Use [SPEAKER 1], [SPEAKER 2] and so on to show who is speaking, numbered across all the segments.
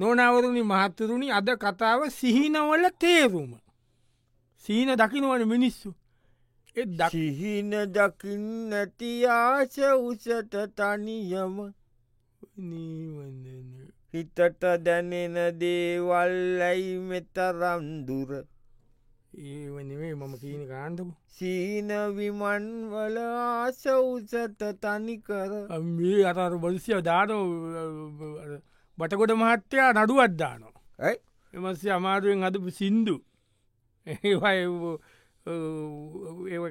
[SPEAKER 1] නොනවරුණි මහත්තරුණි අද කතාව සිහිනවල තේරුම සීන දකිනවන මිනිස්සු එ දකි
[SPEAKER 2] සිහින දකින්න ඇතිආස උසට තනියම හිතට දැනෙන දේවල්ලයි මෙතරම්දුර
[SPEAKER 1] ඒවනේ මම කීන කාන්දපු
[SPEAKER 2] සීන විමන්වල ආස උසට තනිකර
[SPEAKER 1] මේ අතර බොලිසිය දාන බටකොට මහත්තයා නඩුවත්දානවා
[SPEAKER 2] ඇයි?
[SPEAKER 1] එමස්සේ අමාරුවෙන් අදපු සින්දු ඒවා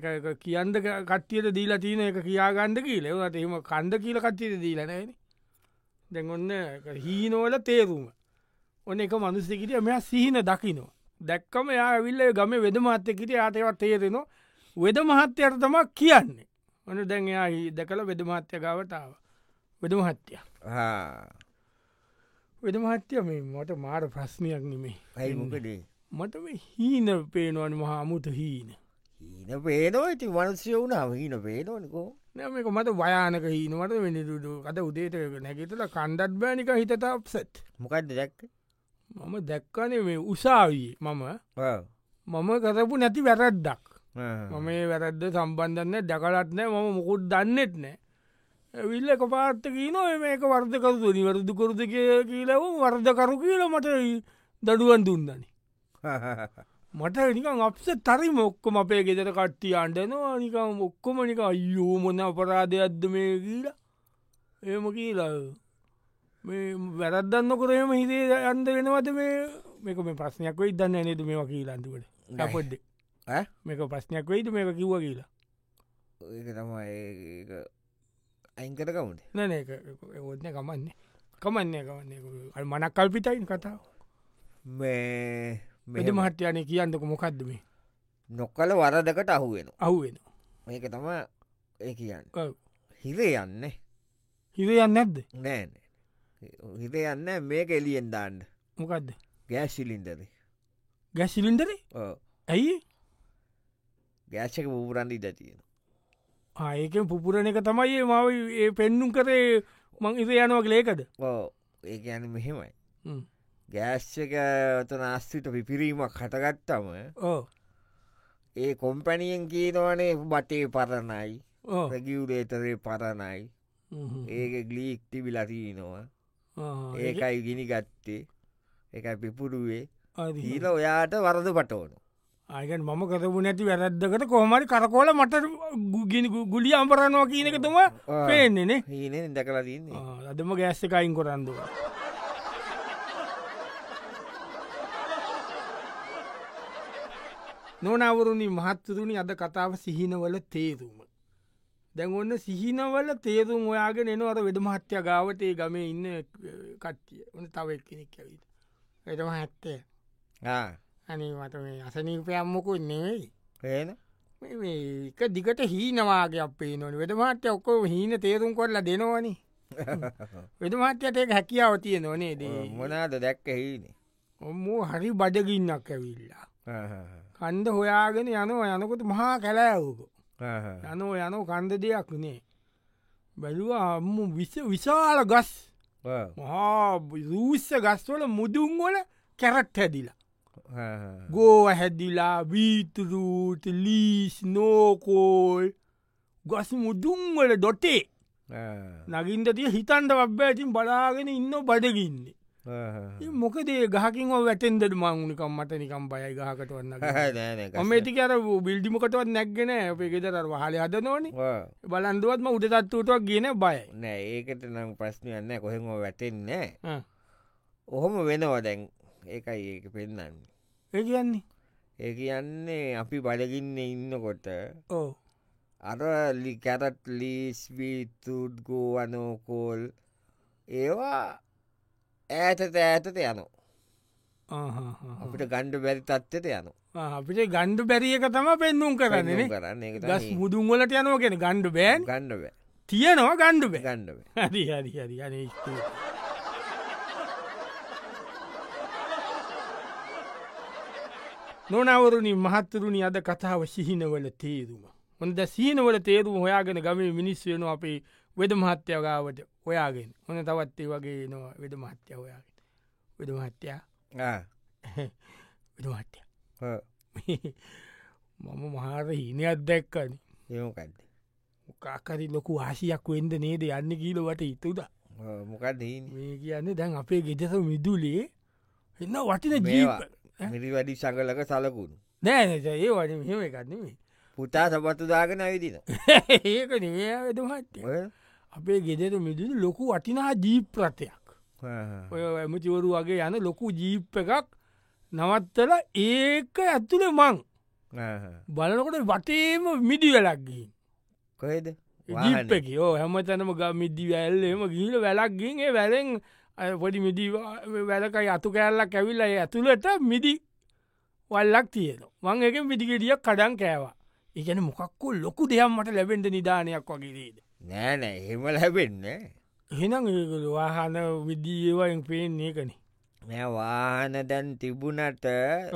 [SPEAKER 1] ඒ කියන්ද කට්ටියට දීලා තියන එක කියාගන්ඩ කියීල ඒවට එම කන්ද කියල කට්ටියට දීලනෑන දැන් ඔන්න හීනෝල තේරුම ඔන්න එක මනුස්සෙකට මෙ සිහින දකිනෝ දැක්කම යා ඇවිල්ල ගම වෙද මහත්තයකට යාතවත් තේරෙනවා වෙද මහත්තයට තමක් කියන්නේ ඔන්න දැන් එයා හි- දැකල වෙද මහත්‍යකාවටාව වෙද මහත්තය වෙද මහත්‍ය මේ මට මාර ප්‍රශ්නයක් නෙමේ
[SPEAKER 2] ඇයි මොකදේ
[SPEAKER 1] මට මේ හීන පේනවන මහාමුත හීන
[SPEAKER 2] හීන පේනෝ ඇති වන්සය වුණාව හීන පේනෝනිකෝ
[SPEAKER 1] නමක මට වයානක හීනවට වෙනිටුඩු අත උදේට නැගෙතල කණ්ඩත් බෑනික හිතට අප්සෙට්
[SPEAKER 2] මොකක්ද දැක්ක
[SPEAKER 1] මම දැක්කනේ මේ උසාවියේ මම මම කරපු නැති වැරැද්දක් මම මේ වැරැද්ද සම්බන්ධන්න දැකලත් නෑ මම මොකුත් දන්නෙත් නෑ ඇවිල්ල එක පාත්තක නෝ මේක වර්ධකරතු නිවැරදු කරුද කිය- කියලව වර්ධකරු කියල මට දඩුවන් දුන්නනි මට නිකන් අපසේ තරි මොක්කොම අපේ ගෙදර කට්ටිය අන්ඩනවා නිකම් ඔක්කොම නික අයෝ මොන අපරාධයක්ද මේ කියලා ඒම කියලා මේ වැරද්දන්න කොරම හිතේ අන්ද වෙනවද මේ මේක මේ ප්‍රශ්නයක් වෙයි දන්න නේතු මේ වකීලන්තුකට
[SPEAKER 2] නෑ.
[SPEAKER 1] අපොඩ්ඩ
[SPEAKER 2] ඈ?
[SPEAKER 1] මේක ප්‍රශ්නයක් වෙයිට මේක කිව්ව කියලා
[SPEAKER 2] ඒක තමයි අයින්කරකවුට
[SPEAKER 1] නන ඔත්න කමන්නේ කමන්නේ කමන්නේ මනක් කල්පිතයින් කතාව
[SPEAKER 2] මේ
[SPEAKER 1] මෙද
[SPEAKER 2] මෙහෙම
[SPEAKER 1] මහට්‍යයනය කියන්නක මොකක්ද මේ
[SPEAKER 2] නොකල වරදකට අහුවෙන
[SPEAKER 1] අහුවෙන
[SPEAKER 2] මේක තම ඒ කියන්න
[SPEAKER 1] ඔව්.
[SPEAKER 2] හිරේ යන්න
[SPEAKER 1] හිර යන්න ඇද්ද
[SPEAKER 2] නෑන හිතේ යන්න මේක එලියෙන් දාන්න
[SPEAKER 1] මොකක්ද
[SPEAKER 2] ගෑස්ශිලින්දද
[SPEAKER 1] ගැස්සිලින්දරේ ඇයි
[SPEAKER 2] ගෑශක පූරන්ඩි දතියෙන
[SPEAKER 1] ආයක පුපුරණ එක තමයි ඒ මාව ඒ පෙන්නුම් කරේ මං ඉත යනවක් ලේකද
[SPEAKER 2] ඕ ඒක යන මෙහෙමයි
[SPEAKER 1] හ්ම්.
[SPEAKER 2] ගෑස්්ක තන අස්තිට පිපිරීමක් හටගත්තම
[SPEAKER 1] ඕ
[SPEAKER 2] ඒ කොම්පැනියෙන් කියීනවනේ බටේ පරණයි
[SPEAKER 1] ඕ
[SPEAKER 2] රැගියවරේතරේ පරණයි
[SPEAKER 1] හ්ම්.
[SPEAKER 2] ඒක ගලීක් තිබිලතිීනවා
[SPEAKER 1] ආ, ඒක-
[SPEAKER 2] ඒකයි ගිනි ගත්තේ එක පිපුරුවේ
[SPEAKER 1] හරි.
[SPEAKER 2] ඊල ඔයාට වරද පටවනු
[SPEAKER 1] ආ, ඒ කියන්නේ මම කරපු නැති වැරද්දකට කොහමරි කරකෝල මට ගුගෙන ගුලිය අම්පරණවා කියන එක තුම
[SPEAKER 2] ආ.
[SPEAKER 1] පේන්නේනේ
[SPEAKER 2] හීනෙන් දැකලා තින්නේ
[SPEAKER 1] ආ, අදම ගෑස්ස එකයින් කොරන්දුව නොනවරුණි මහත්තතුනි අද කතාව සිහිනවල තේරුම දැන් ඔන්න සිහිනවල තේරුම් ඔයාගෙන එනවර වෙද මහත්‍ය ගාවතේ ගමේ ඉන්න අ, කට්ටිය ඔන්න තව කෙනෙක් ඇවිට වෙදම හැත්තේ
[SPEAKER 2] ආ,
[SPEAKER 1] අනි මට මේ අසනීපයම්මකුත් නෙවෙයි
[SPEAKER 2] පේන
[SPEAKER 1] මේ- මේ එක දිගට හීනවාගේ අපේ නොන වෙද මහත්‍ය ඔක්කෝ හීන තේරුම් කොල්ලා දෙනවනේ වෙදමාත්‍යයට ඒක හැකියාව තියෙන ඕනේ දේ
[SPEAKER 2] මොනාද දැක්ක හීනේ
[SPEAKER 1] ඔම්මෝ හරි බඩගින්නක් ඇවිල්ලා කන්ද හොයාගෙන යනෝ යනකොට මහා කැලෑවක යනෝ යනෝ කන්ද දෙයක් නේ බැලවා අම්ම විස විශාල ගස් මහා රූෂ ගස්වල මුදුන්වල කැරට් හැදිලා ගෝව හැදිලා වීතුරූට ලීස් නෝකෝල් ගස් මුදුන්වල ඩොටේ නගින්ට තිය හිතන්ට බබ්බ ඇතින් බලාගෙන ඉන්න බඩගින්නේ මොකදේ ගහකින් ඔ වැටෙන්දට මංුණකම් මට නිකම් බයයි ගහකට වන්න මේති අර බිල්ඩිමකටවත් නැක්ගෙන අපේ ගෙදර වහල අද නොන බලන්දුවත්ම උඩතත්වටක් ගෙන බයයි
[SPEAKER 2] නෑ ඒකට නම් ප්‍රශ්නයන්න කොහෙම වැටෙන්න
[SPEAKER 1] ආ.
[SPEAKER 2] ඔහොම වෙනවා දැන් ඒකයි ඒක පෙන්න්න
[SPEAKER 1] ඒ කියන්නේ
[SPEAKER 2] ඒ කියන්නේ අපි බලගින්න ඉන්නකොට
[SPEAKER 1] ඕ
[SPEAKER 2] අරලි කැරට් ලිස්වීතුඩ් ගෝවනෝකෝල් ඒවා ඇතත ඇතත යනු අපිට ගණ්ඩ බැරි තත්වට යනු
[SPEAKER 1] අපිට ගණ්ඩු බැරිය එක තම පෙන්නුම් කරන්නේ නේ.
[SPEAKER 2] කරන්න ඒක
[SPEAKER 1] ගස්
[SPEAKER 2] තමයි
[SPEAKER 1] මුදුන්වලට යනෝගෙන ගණ්ඩු බෑන්
[SPEAKER 2] ගණ්ඩ
[SPEAKER 1] තියනවා ගණ්ඩු බෑ
[SPEAKER 2] ගණ්ඩ
[SPEAKER 1] හරි හරි හරි අනේ ස්තුතියි. නොනවරුණි මහත්තරුණි අද කතාව සිහිනවල තේරුම. හොඳ සීනවල තේරුම් හොයාගෙන ගමේ මිනිස් වෙන අපේ වෙද මහත්‍යගාවට ඔයාගෙන හොන තවත්තේ වගේ නවා වෙද මහත්‍ය ඔයාගෙන. විදුහත්තයා විදුහත්ය මම මහාර හිනයක් දැක්කන
[SPEAKER 2] ඒමකක්ද
[SPEAKER 1] මොකාකරි ලොකු ආසියක් වෙන්ද නේද යන්න කීලවට ඉතුද
[SPEAKER 2] මොකක්ද
[SPEAKER 1] මේ කියන්න දැන් අපේ ගෙදෙස මිදුලේ එන්න වටින
[SPEAKER 2] මේවා.
[SPEAKER 1] ජීව
[SPEAKER 2] මිරි වැඩි සංගලක සලකුණු
[SPEAKER 1] නෑ ඒ වන මෙම එකන්නේ
[SPEAKER 2] පුතා සපත්තු දාගෙන ඇවිදින
[SPEAKER 1] ඒක නිවැදමත් අපේ ගෙදර මිදුලි ලොකු වටිනා ජීප් රථයක් ඔය ඇමතිවරු වගේ යන ලොකු ජීප් එකක් නවත්තල ඒක ඇතුළ මං බලනකොට වටේම මිඩි වැලක්ගින්
[SPEAKER 2] කොහෙද වාහනේ.
[SPEAKER 1] ජීප්පක යෝ හැම තැනම ග මිදි වැල්ලේම ගීල වැලක්ගින් ඒ වැලෙන් අය පොඩි මිදි වැලකයි අතු කෑල්ලක් ඇවිල්ල ඒ ඇතුළට මිදි වල්ලක් තියෙනවා මං එක මිදිගෙඩියක් කඩන් කෑවා ඉගැන මොකක්කු ලොකු දෙයක් මට ලැබෙන්ට නිධානයක් වගේදේද
[SPEAKER 2] නෑනෑ එහෙම ලැබෙන්න
[SPEAKER 1] එහෙනම් ඒකළ වාහන විදිඒවයින් පේන්නේ කන
[SPEAKER 2] මෙ වාහන දැන් තිබුණට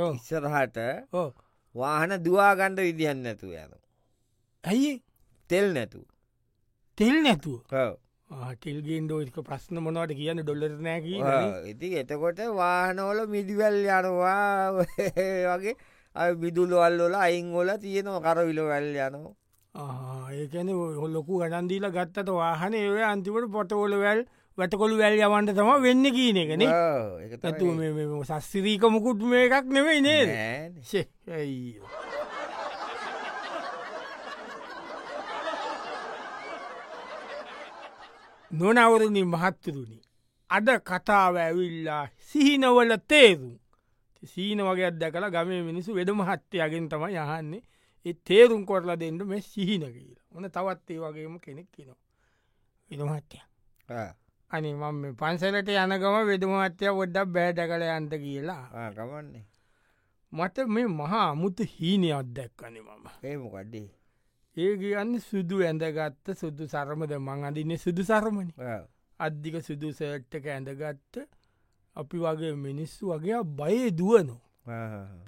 [SPEAKER 1] ඔව්.
[SPEAKER 2] ඉස්සරහට
[SPEAKER 1] ඕ
[SPEAKER 2] වාහන දවාගණ්ඩ විදිියන්න නැතු යන
[SPEAKER 1] ඇයි
[SPEAKER 2] තෙල් නැතු
[SPEAKER 1] තෙල් නැතුව
[SPEAKER 2] ඔව්.
[SPEAKER 1] තෙල්ගෙන් දෝක ප්‍රශ්න මොනවට කියන්න ඩොල්ලර නෑකී
[SPEAKER 2] ඔව්. ඉති එතකොට වාහනෝල මිදිවැල් යනවා වගේ අය බිදුලුවල්ලොල අයිංගොල තියෙනවා කරවිල වැල් යනවා
[SPEAKER 1] ඒකන හොල්ලොකු ගඩන්දීල ගත්තට වාහන ඒව අන්තිවට පොටවොල වැල් වැටකොළු වැල් යවන්ට තම වෙන්න කියන එකන
[SPEAKER 2] ඔව්. ඒක තමයි.
[SPEAKER 1] ඇතු සස්සිරීක මුකුට් මේ එකක් නෙවෙයි නේද
[SPEAKER 2] නෑනේ.
[SPEAKER 1] ෂේ, ඇයි. නොනවරණි මහත්තරුණි අද කතාව ඇවිල්ලා සිහිනවල තේරුම් සීන වගේ අදකල ගමේ මිනිසු වෙඩ මහත්තයගෙන් තම යහන්නේ ඒ තේරුම් කොරලා දෙන්නට මෙ සිහින කියලා ඕන තවත් ඒ වගේම කෙනෙක් කෙනවා විදමහත්තය
[SPEAKER 2] ආ,
[SPEAKER 1] අනි මම මේ පන්සලට යනගම වෙදමහත්තය ොඩ්ඩක් බෑඩ කළ යන්ට කියලා
[SPEAKER 2] ආ, ගමන්නේ
[SPEAKER 1] මට මේ මහා අමුත හීනය අත්දැක්කන මම
[SPEAKER 2] ඒමකඩ්ඩේ
[SPEAKER 1] ඒ කියන්න සුදු ඇඳගත්ත සුදු සරමද මං අඳන්නේ සුදු සරමණ අධික සුදු සට්ටක ඇඳගත්ත අපි වගේ මිනිස්සු වගේ බයේ දුවනෝ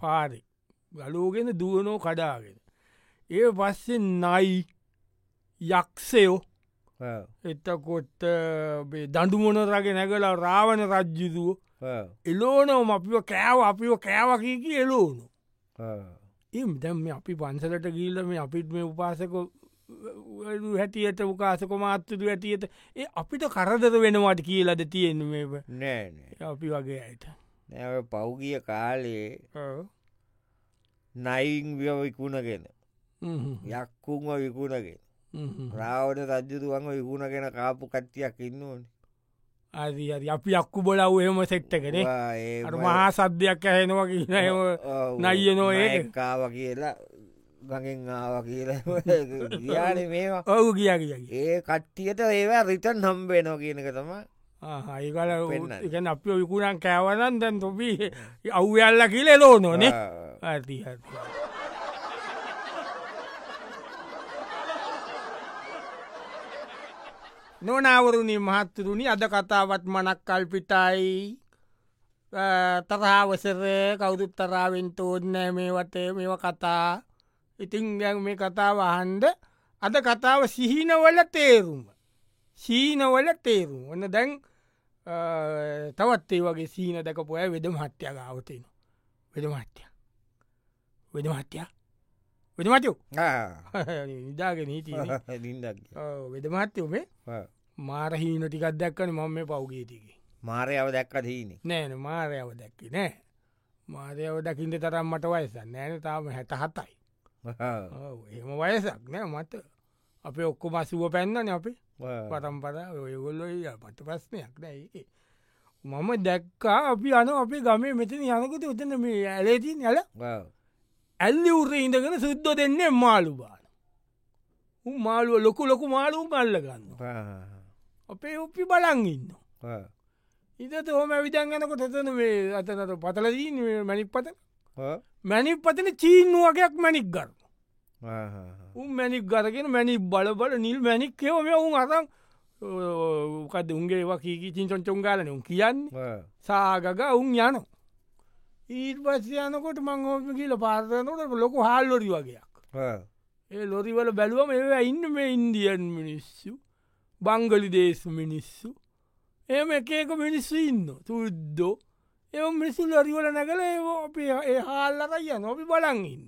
[SPEAKER 1] පාරි ගලෝගෙන දුවනෝ කඩාගෙන ඒ පස්සේ නයි යක්ෂයෝ එතකොත් බේ දඩුමොනරගේ නැගලා රාවණ රජ්ජිදුව එලෝනෝම අපිව කෑව අපිව කෑවකකි එලෝනු එම් දැම් මේ අපි පන්සලට ගිල්ල මේ අපිත් මේ උපාසක හැටියට උකාසක මාත්තුතු ඇටියට ඒ අපිට කරදර වෙනවට කියලද තියෙන මේ බ-
[SPEAKER 2] නෑනෑ
[SPEAKER 1] අපි වගේ ඇයට
[SPEAKER 2] නැ පෞගිය කාලේ නයින් ව්‍යව විකුණගෙන යක්කුන්ව විකුණගෙන රාවට රජ්ජතුවන්ව විකුණගෙන කාපු කට්ටියක් ඉන්නඕන
[SPEAKER 1] අරි අරි අපි අක්කු බොලව් එහෙම සෙට්ට කරේ අර මහා සද්ධයක් ඇහෙනවා කියනව නයියනෝ ඒක.
[SPEAKER 2] කාව කියලා ගඟෙන් ආව කියලා යාන මේවා
[SPEAKER 1] ඔවු කිය කිය
[SPEAKER 2] ඒ කට්ටියට ඒවා රිටන් හම්බේ නෝ කියනක තම
[SPEAKER 1] ඒකල
[SPEAKER 2] පෙන්නන්න.
[SPEAKER 1] එකන අපි විකුණන් කෑවනන් දැන් තොපි අව්යල්ල කියල ලෝනොනේ ඇති ඇති. නොනවරුණි මහත්තුරුණි අද කතාවත් මනක් කල්පිටයි තරාවසර කවුදුත් තරාවෙන් තෝනෑ මේ වටේ මෙව කතා ඉතිං දැන් මේ කතාව අහන්ද අද කතාව සිහිනවල තේරුම සීනවල තේරුම් ඔන්න දැන් අ, තවත් ඒ වගේ සීන දැකපුය වෙද මහත්්‍යය ගාවතයන වෙද මහත්්‍ය වෙද මහත්්‍යය වෙද මතයෝ නිදාගෙන හිටිය වෙදමත්තයෝමේ මාරහිීන ටිකක් දැක්කන මම මේ පව්ගේටිකි
[SPEAKER 2] මාරයාව දැක්ක දීන
[SPEAKER 1] නෑන මාරයව දැක්කි නෑ මාරයව දකිින්ට තරම් මට වයස නෑන තාම හැට හතයි ඔව්, එහෙම වයසක් නෑ මත අපේ ඔක්කො මසුව පැන්නන අපේ පරම්පර ඔයගොල්ලො පට ප්‍රස්නයක් නෑ මම දැක්කා අපි අන අපේ ගමේ මෙතන යනකුට උතන මේ ඇලේති යල ඇල්ලි උරේ ඉඳගෙන සුද්ද දෙන්නේ මාලු බාන උන් මාළුව ලොකු ලොකු මාලුම් කල්ලගන්න අපේ උපි බලන් ඉන්න ඉතත හොම විදන් ගනකොට එතන මේ අතනට පතලදී මැනික් පත මැනික් පතන චීන්නුව වගේයක් මැනික් ගන්න උන් මැනික් ගරගෙන මැනික් බලබල නිල් මැනික් කෙවම උන් අතන් කද උන්ගේ වකී චින්චොන් චොංගාලන උන් කියන්නේ සාගග උන් යන ඊට පස්ස යනකොට මංහෝම කියල පාර්තනකට ලොක හල්ලොරි වගේයක් ඒ ලොරිවල බැලුවම ඒ ඉන්න මේ ඉන්දියන් මිනිස්සු බංගලි දේශ මිනිස්සු එම එකක මිනිස්සු ඉන්න තුද්දෝ එම මිසිල් ලොරිවල නැකල ඒ අපේ ඒ හාල්ලරයිය නොපි බලන් ඉන්න.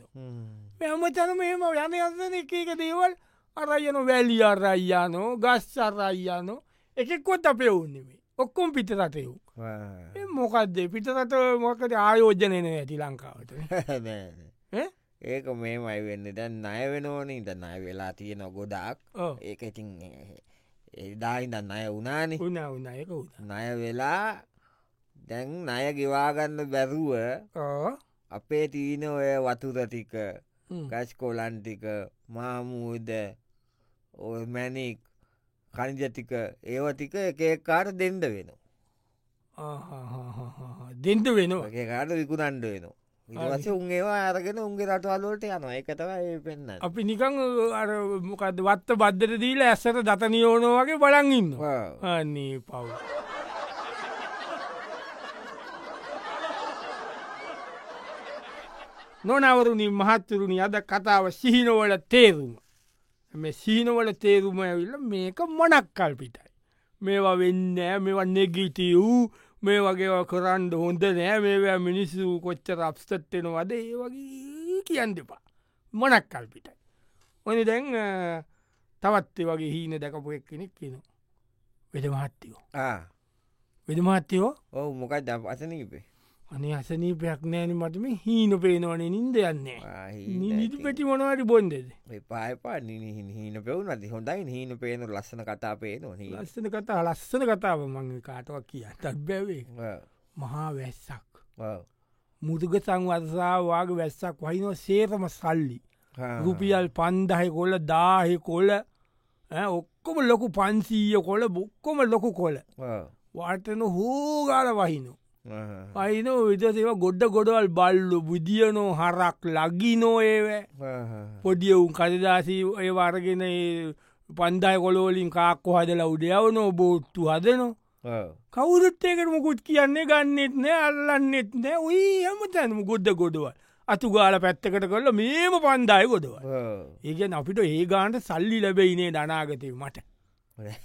[SPEAKER 1] මෙහමතන මෙම යන අසන එක එක දේවල් අරයන වැලි අරයියානෝ ගස් අරයියානෝ එකෙක්කොත් අපේ උන්නෙමේ ඔක්කොම් පිටරටයව් මොකක්ද පිටරට මොකට ආයෝජනන ඇති ලංකාවට
[SPEAKER 2] ඒක මේමයි වෙන්න දැන් අය වෙනෝනේ ඉට අය වෙලා තියෙන ගොඩක්
[SPEAKER 1] ඕ
[SPEAKER 2] ඒක ඉතින් එදායිදන්න අය වනානි
[SPEAKER 1] උන්න උන්න එක උද
[SPEAKER 2] නය වෙලා දැන් නය ගෙවාගන්න බැරුව
[SPEAKER 1] ඕ
[SPEAKER 2] අපේ තියන ඔය වතුරටික ගස්කෝලන්ටික මාමූද ඔය මැනික් කනිජටික ඒවටික එකකාර දෙන්ඩ වෙන
[SPEAKER 1] දෙන්ට වෙනවා
[SPEAKER 2] ඒකාට විකුණන්ඩ වෙන ඉවස උන්ඒවා අරගෙන උන්ගේ රටවල්ලෝට යන එකතව ඒ පෙන්න්න
[SPEAKER 1] අපි නිකං අර මොකද වත්ත බද්ධට දීල ඇස්සට දත නියෝනෝ වගේ බලන් ඉන්න අන්නේ පව් නොනවරුණින් මහත්තුරුණි අද කතාව සිහිනවල තේරුම මේ සීනවල තේරුම ඇවිල්ල මේක මොනක් කල්පිටයි මේවා වෙන්නෑ මෙවා නෙගිටී වූ මේ වගේ කරන්න හොඳ නෑ මේවා මිනිස්සු කොච්ච රප්ස්තත්වෙනවද ඒ වගේ කියන්දපා මොනක් කල්පිටයි ඕනි දැන් අ, තවත්ේ වගේ හීන දැකපු එක් කෙනෙක් කියෙන වෙද මහත්තයෝ වෙද මහත්තයෝ
[SPEAKER 2] ඔහු මොකක් ද අසනීපේ
[SPEAKER 1] අනේ අසනීපයක් නෑන මටම හීන පේනවන නින්ද යන්නේ නිදි පැටි මොනවට බොන්දෙද
[SPEAKER 2] පාපා හීන පෙවුන අති හොඳයි හීන පේනු ලස්සන කතා පේනවා හීන.
[SPEAKER 1] ලස්සන කතා ලස්සන කතාව මං කාටවක් කිය තත් බැවේ
[SPEAKER 2] ඔව්,
[SPEAKER 1] මහා වැස්සක්
[SPEAKER 2] ඔව්.
[SPEAKER 1] මුදුග සංවර්සාවාගේ වැස්සක් වහිනෝ සේරම සල්ලි
[SPEAKER 2] හා.
[SPEAKER 1] රුපියල් පන්දහය කොල දාහෙ කොල ඈ, ඔක්කොම ලොකු පන්සීය කොල බොක්කොම ලොකු කොල
[SPEAKER 2] ඔව්.
[SPEAKER 1] වටන හෝගාල වහිනෝ
[SPEAKER 2] හා.
[SPEAKER 1] පයිනෝ විදසේවා ගොඩ්ඩ ගොඩවල් බල්ලු බුදියනෝ හරක් ලගිනෝ ඒවෑ
[SPEAKER 2] හා.
[SPEAKER 1] පොඩිය උන් කදදාසී ඒ වර්ගෙන පන්දාය කොලෝලින් කාක්කො හදලා උඩයවනෝ බෝට්තු හදනෝ
[SPEAKER 2] ඔව්.
[SPEAKER 1] කවුරුත්තයකට මොකුත් කියන්නේ ගන්නෙත් නෑ අල්ලන්නෙත් නෑ ඔයි හම තැනම ගොඩ්ඩ ගොඩව අතුගාල පැත්තකට කොල්ල මේම පන්දාය ගොඩව
[SPEAKER 2] ඔව්.
[SPEAKER 1] ඒගැන අපිට ඒ ගාන්ට සල්ලි ලැබයිනේ දනාගතය මට
[SPEAKER 2] නෑ.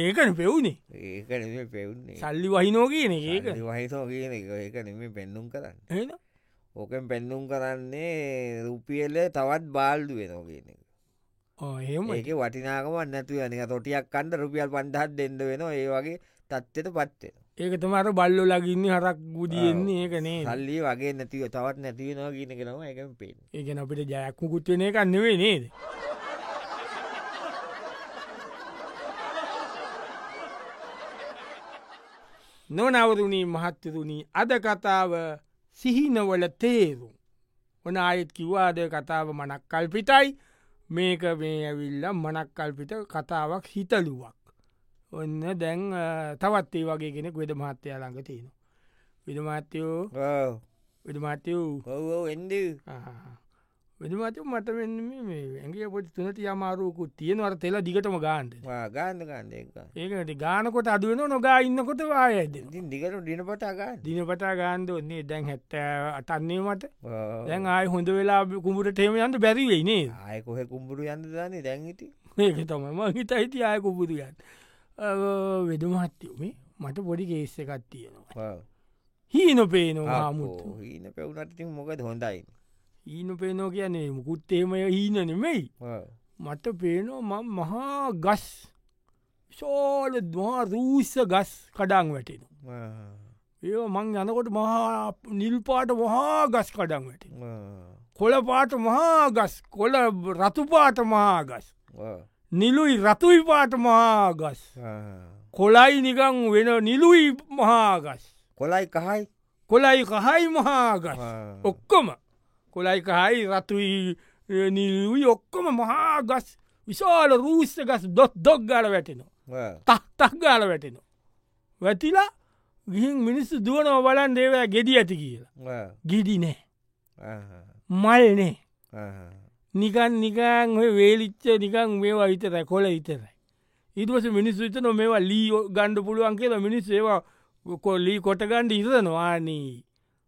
[SPEAKER 1] ඒකන පෙවුනේ
[SPEAKER 2] ඒක නෙම පෙවුන්නේ
[SPEAKER 1] සල්ලි වහිනෝ කියන එක ඒක
[SPEAKER 2] වහිතෝ කියන එක ඒක නෙම පෙන්නුම් කරන්න
[SPEAKER 1] එහෙනම්
[SPEAKER 2] ඕකෙන් පෙන්නුම් කරන්නේ රුපියල තවත් බාල්ඩුව වෙනෝ කියන එක.
[SPEAKER 1] ආ, එහෙම
[SPEAKER 2] ඒක වටිනාකම නැතු යන තොටියක් කන්ඩ රුපියල් පන්ඩහත් දෙන්න වෙන ඒ වගේ තත්ත්වයට පත්වෙන
[SPEAKER 1] ඒක තමාර බල්ලො ලගින්න හරක් ගුදියෙන්නේ ඒක නේ
[SPEAKER 2] සල්ලි වගේ නැතිව තවත් නැතිවෙනවා කියන කෙනම එකම පෙන්
[SPEAKER 1] ඒකන අපිට ජයක්මකුත් වෙන එක නෙවේ නේද නොනවරුණී මහත්තරුණී අද කතාව සිහිනවල තේරුම් ඔන අයත් කිව්වාද කතාව මනක් කල්පිටයි මේක මේ ඇවිල්ල මනක් කල්පිට කතාවක් හිතලුවක් ඔන්න දැන් අ, තවත් ඒ වගේ කෙනෙක් වෙද මහත්තය ළඟ තියෙන විද මහත්තයෝ විද මහත්තයෝ
[SPEAKER 2] ඔවෝ එඩ
[SPEAKER 1] වෙනමතු මට වෙන්න මේ ඇගේ පොට තුනට යමාරුවකුත් තියෙනවට තෙලා දිගටම ගාන්ද
[SPEAKER 2] ගාන්න ගන්ඩ
[SPEAKER 1] ඒකට ගානකොට අදුවන නොගා ඉන්නකොට වායද
[SPEAKER 2] ඉතින් දිගට ඩිනපට අගන්න
[SPEAKER 1] දිනපටා ගාන්ද ඔන්නේ දැන් හැත්ත අටන්නේ මට දැන් ආය හොඳ වෙලා කුමට ටේම යන්ට බැරිවෙයි නේ
[SPEAKER 2] ආය කොහෙ කුම්ඹුරු යන්න දන්නේ දැන්ගිති
[SPEAKER 1] ඒක තමම හිත අයිති ආයකුපුරුයන් වෙදමහත්තයමේ මට පොඩි ගේස්ස එකත් තියෙනවා හීන පේනවා හාමුතු
[SPEAKER 2] හීන පැවුනට ඉතින් මොකද හොඳයි
[SPEAKER 1] ඊන පේනෝ කියන්නේ මුකුත්තේමය හීන නෙමෙයි මට පේනෝ මං මහා ගස් ශෝල දවා රූෂ ගස් කඩං වැටෙන. ඒ මං යනකොට මහා නිල්පාට වහා ගස් කඩං වැටෙන. කොළපාට මහා ගස් කොළ රතුපාට මහා ගස්. නිලුයි රතුයි පාට මහා ගස්. කොලයි නිකං වෙන නිලුයි මහා ගස්.
[SPEAKER 2] කොලයි කහයි
[SPEAKER 1] කොලයි කහයි මහා ගස්. ඔක්කොම කොලයි කහයි රතුයි ඒ, නිලුයි ඔක්කොම මහා ගස් විශාල රූෂ ගස් දොත් දොක් ගල වැටෙනවා. තක්තක් ගාල වැටෙනවා. වැතිලා ගිහින් මිනිස්සු දුවනව බලන් දේවය ගෙඩි ඇති කියලා. ගෙඩි නෑ මල් නේ නිකන් නිකන් ඔය වේලිච්ච නිකන් මේවා විතරයි කොල විතරයි. ඉදවස මිනිස්සු විතන මේවා ලී ගණ්ඩ පුළුවන් කියලා මිනිස් ඒවා කොල්ලී කොටගණ්ඩ ඉරනවානී.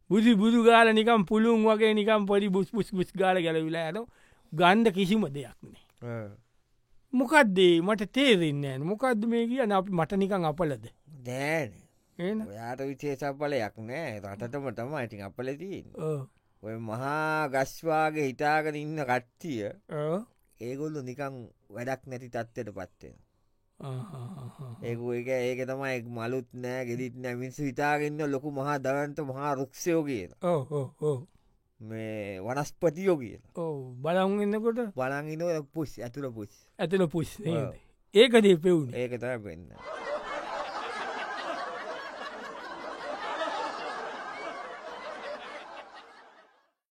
[SPEAKER 1] බුදු බුදු ගාල නිකම් පුළුවන් වගේ නිකම් පොඩි බුස් පුස් පුස් ගාල ගැලවිලා ඇන ගණ්ඩ කිසිම දෙයක් නේ. මොකක්දේ මට තේරෙන්නේ මොකක්ද මේ කියන අප මට නිකං අපලද.
[SPEAKER 2] දෑන
[SPEAKER 1] ඒ
[SPEAKER 2] ඔයාට විශේෂපලයක් නෑ රටටම තම ඉතින් අපලතින් ඔය මහා ගස්වාගේ හිතාගෙන ඉන්න කට්ටිය ඒගොල්ලු නිකං වැඩක් නැති තත්ත්වයට පත්වෙන ඒක එක ඒක තමයි මලුත් නෑ ගෙදිත් නෑ මිනිස්සු හිතාගන්න ලොකු මහා දරන්ත මහා රුක්ෂයෝ කියන
[SPEAKER 1] ඕ ඕ ඕ
[SPEAKER 2] මේ වනස්පතියෝ කියන
[SPEAKER 1] ඕ බලවුන් එන්නකොට
[SPEAKER 2] බලගින පුස් ඇතුළ පුස්
[SPEAKER 1] ඇතල පුස් ඒකදේ පෙවුණ
[SPEAKER 2] ඒක තර පෙන්න්න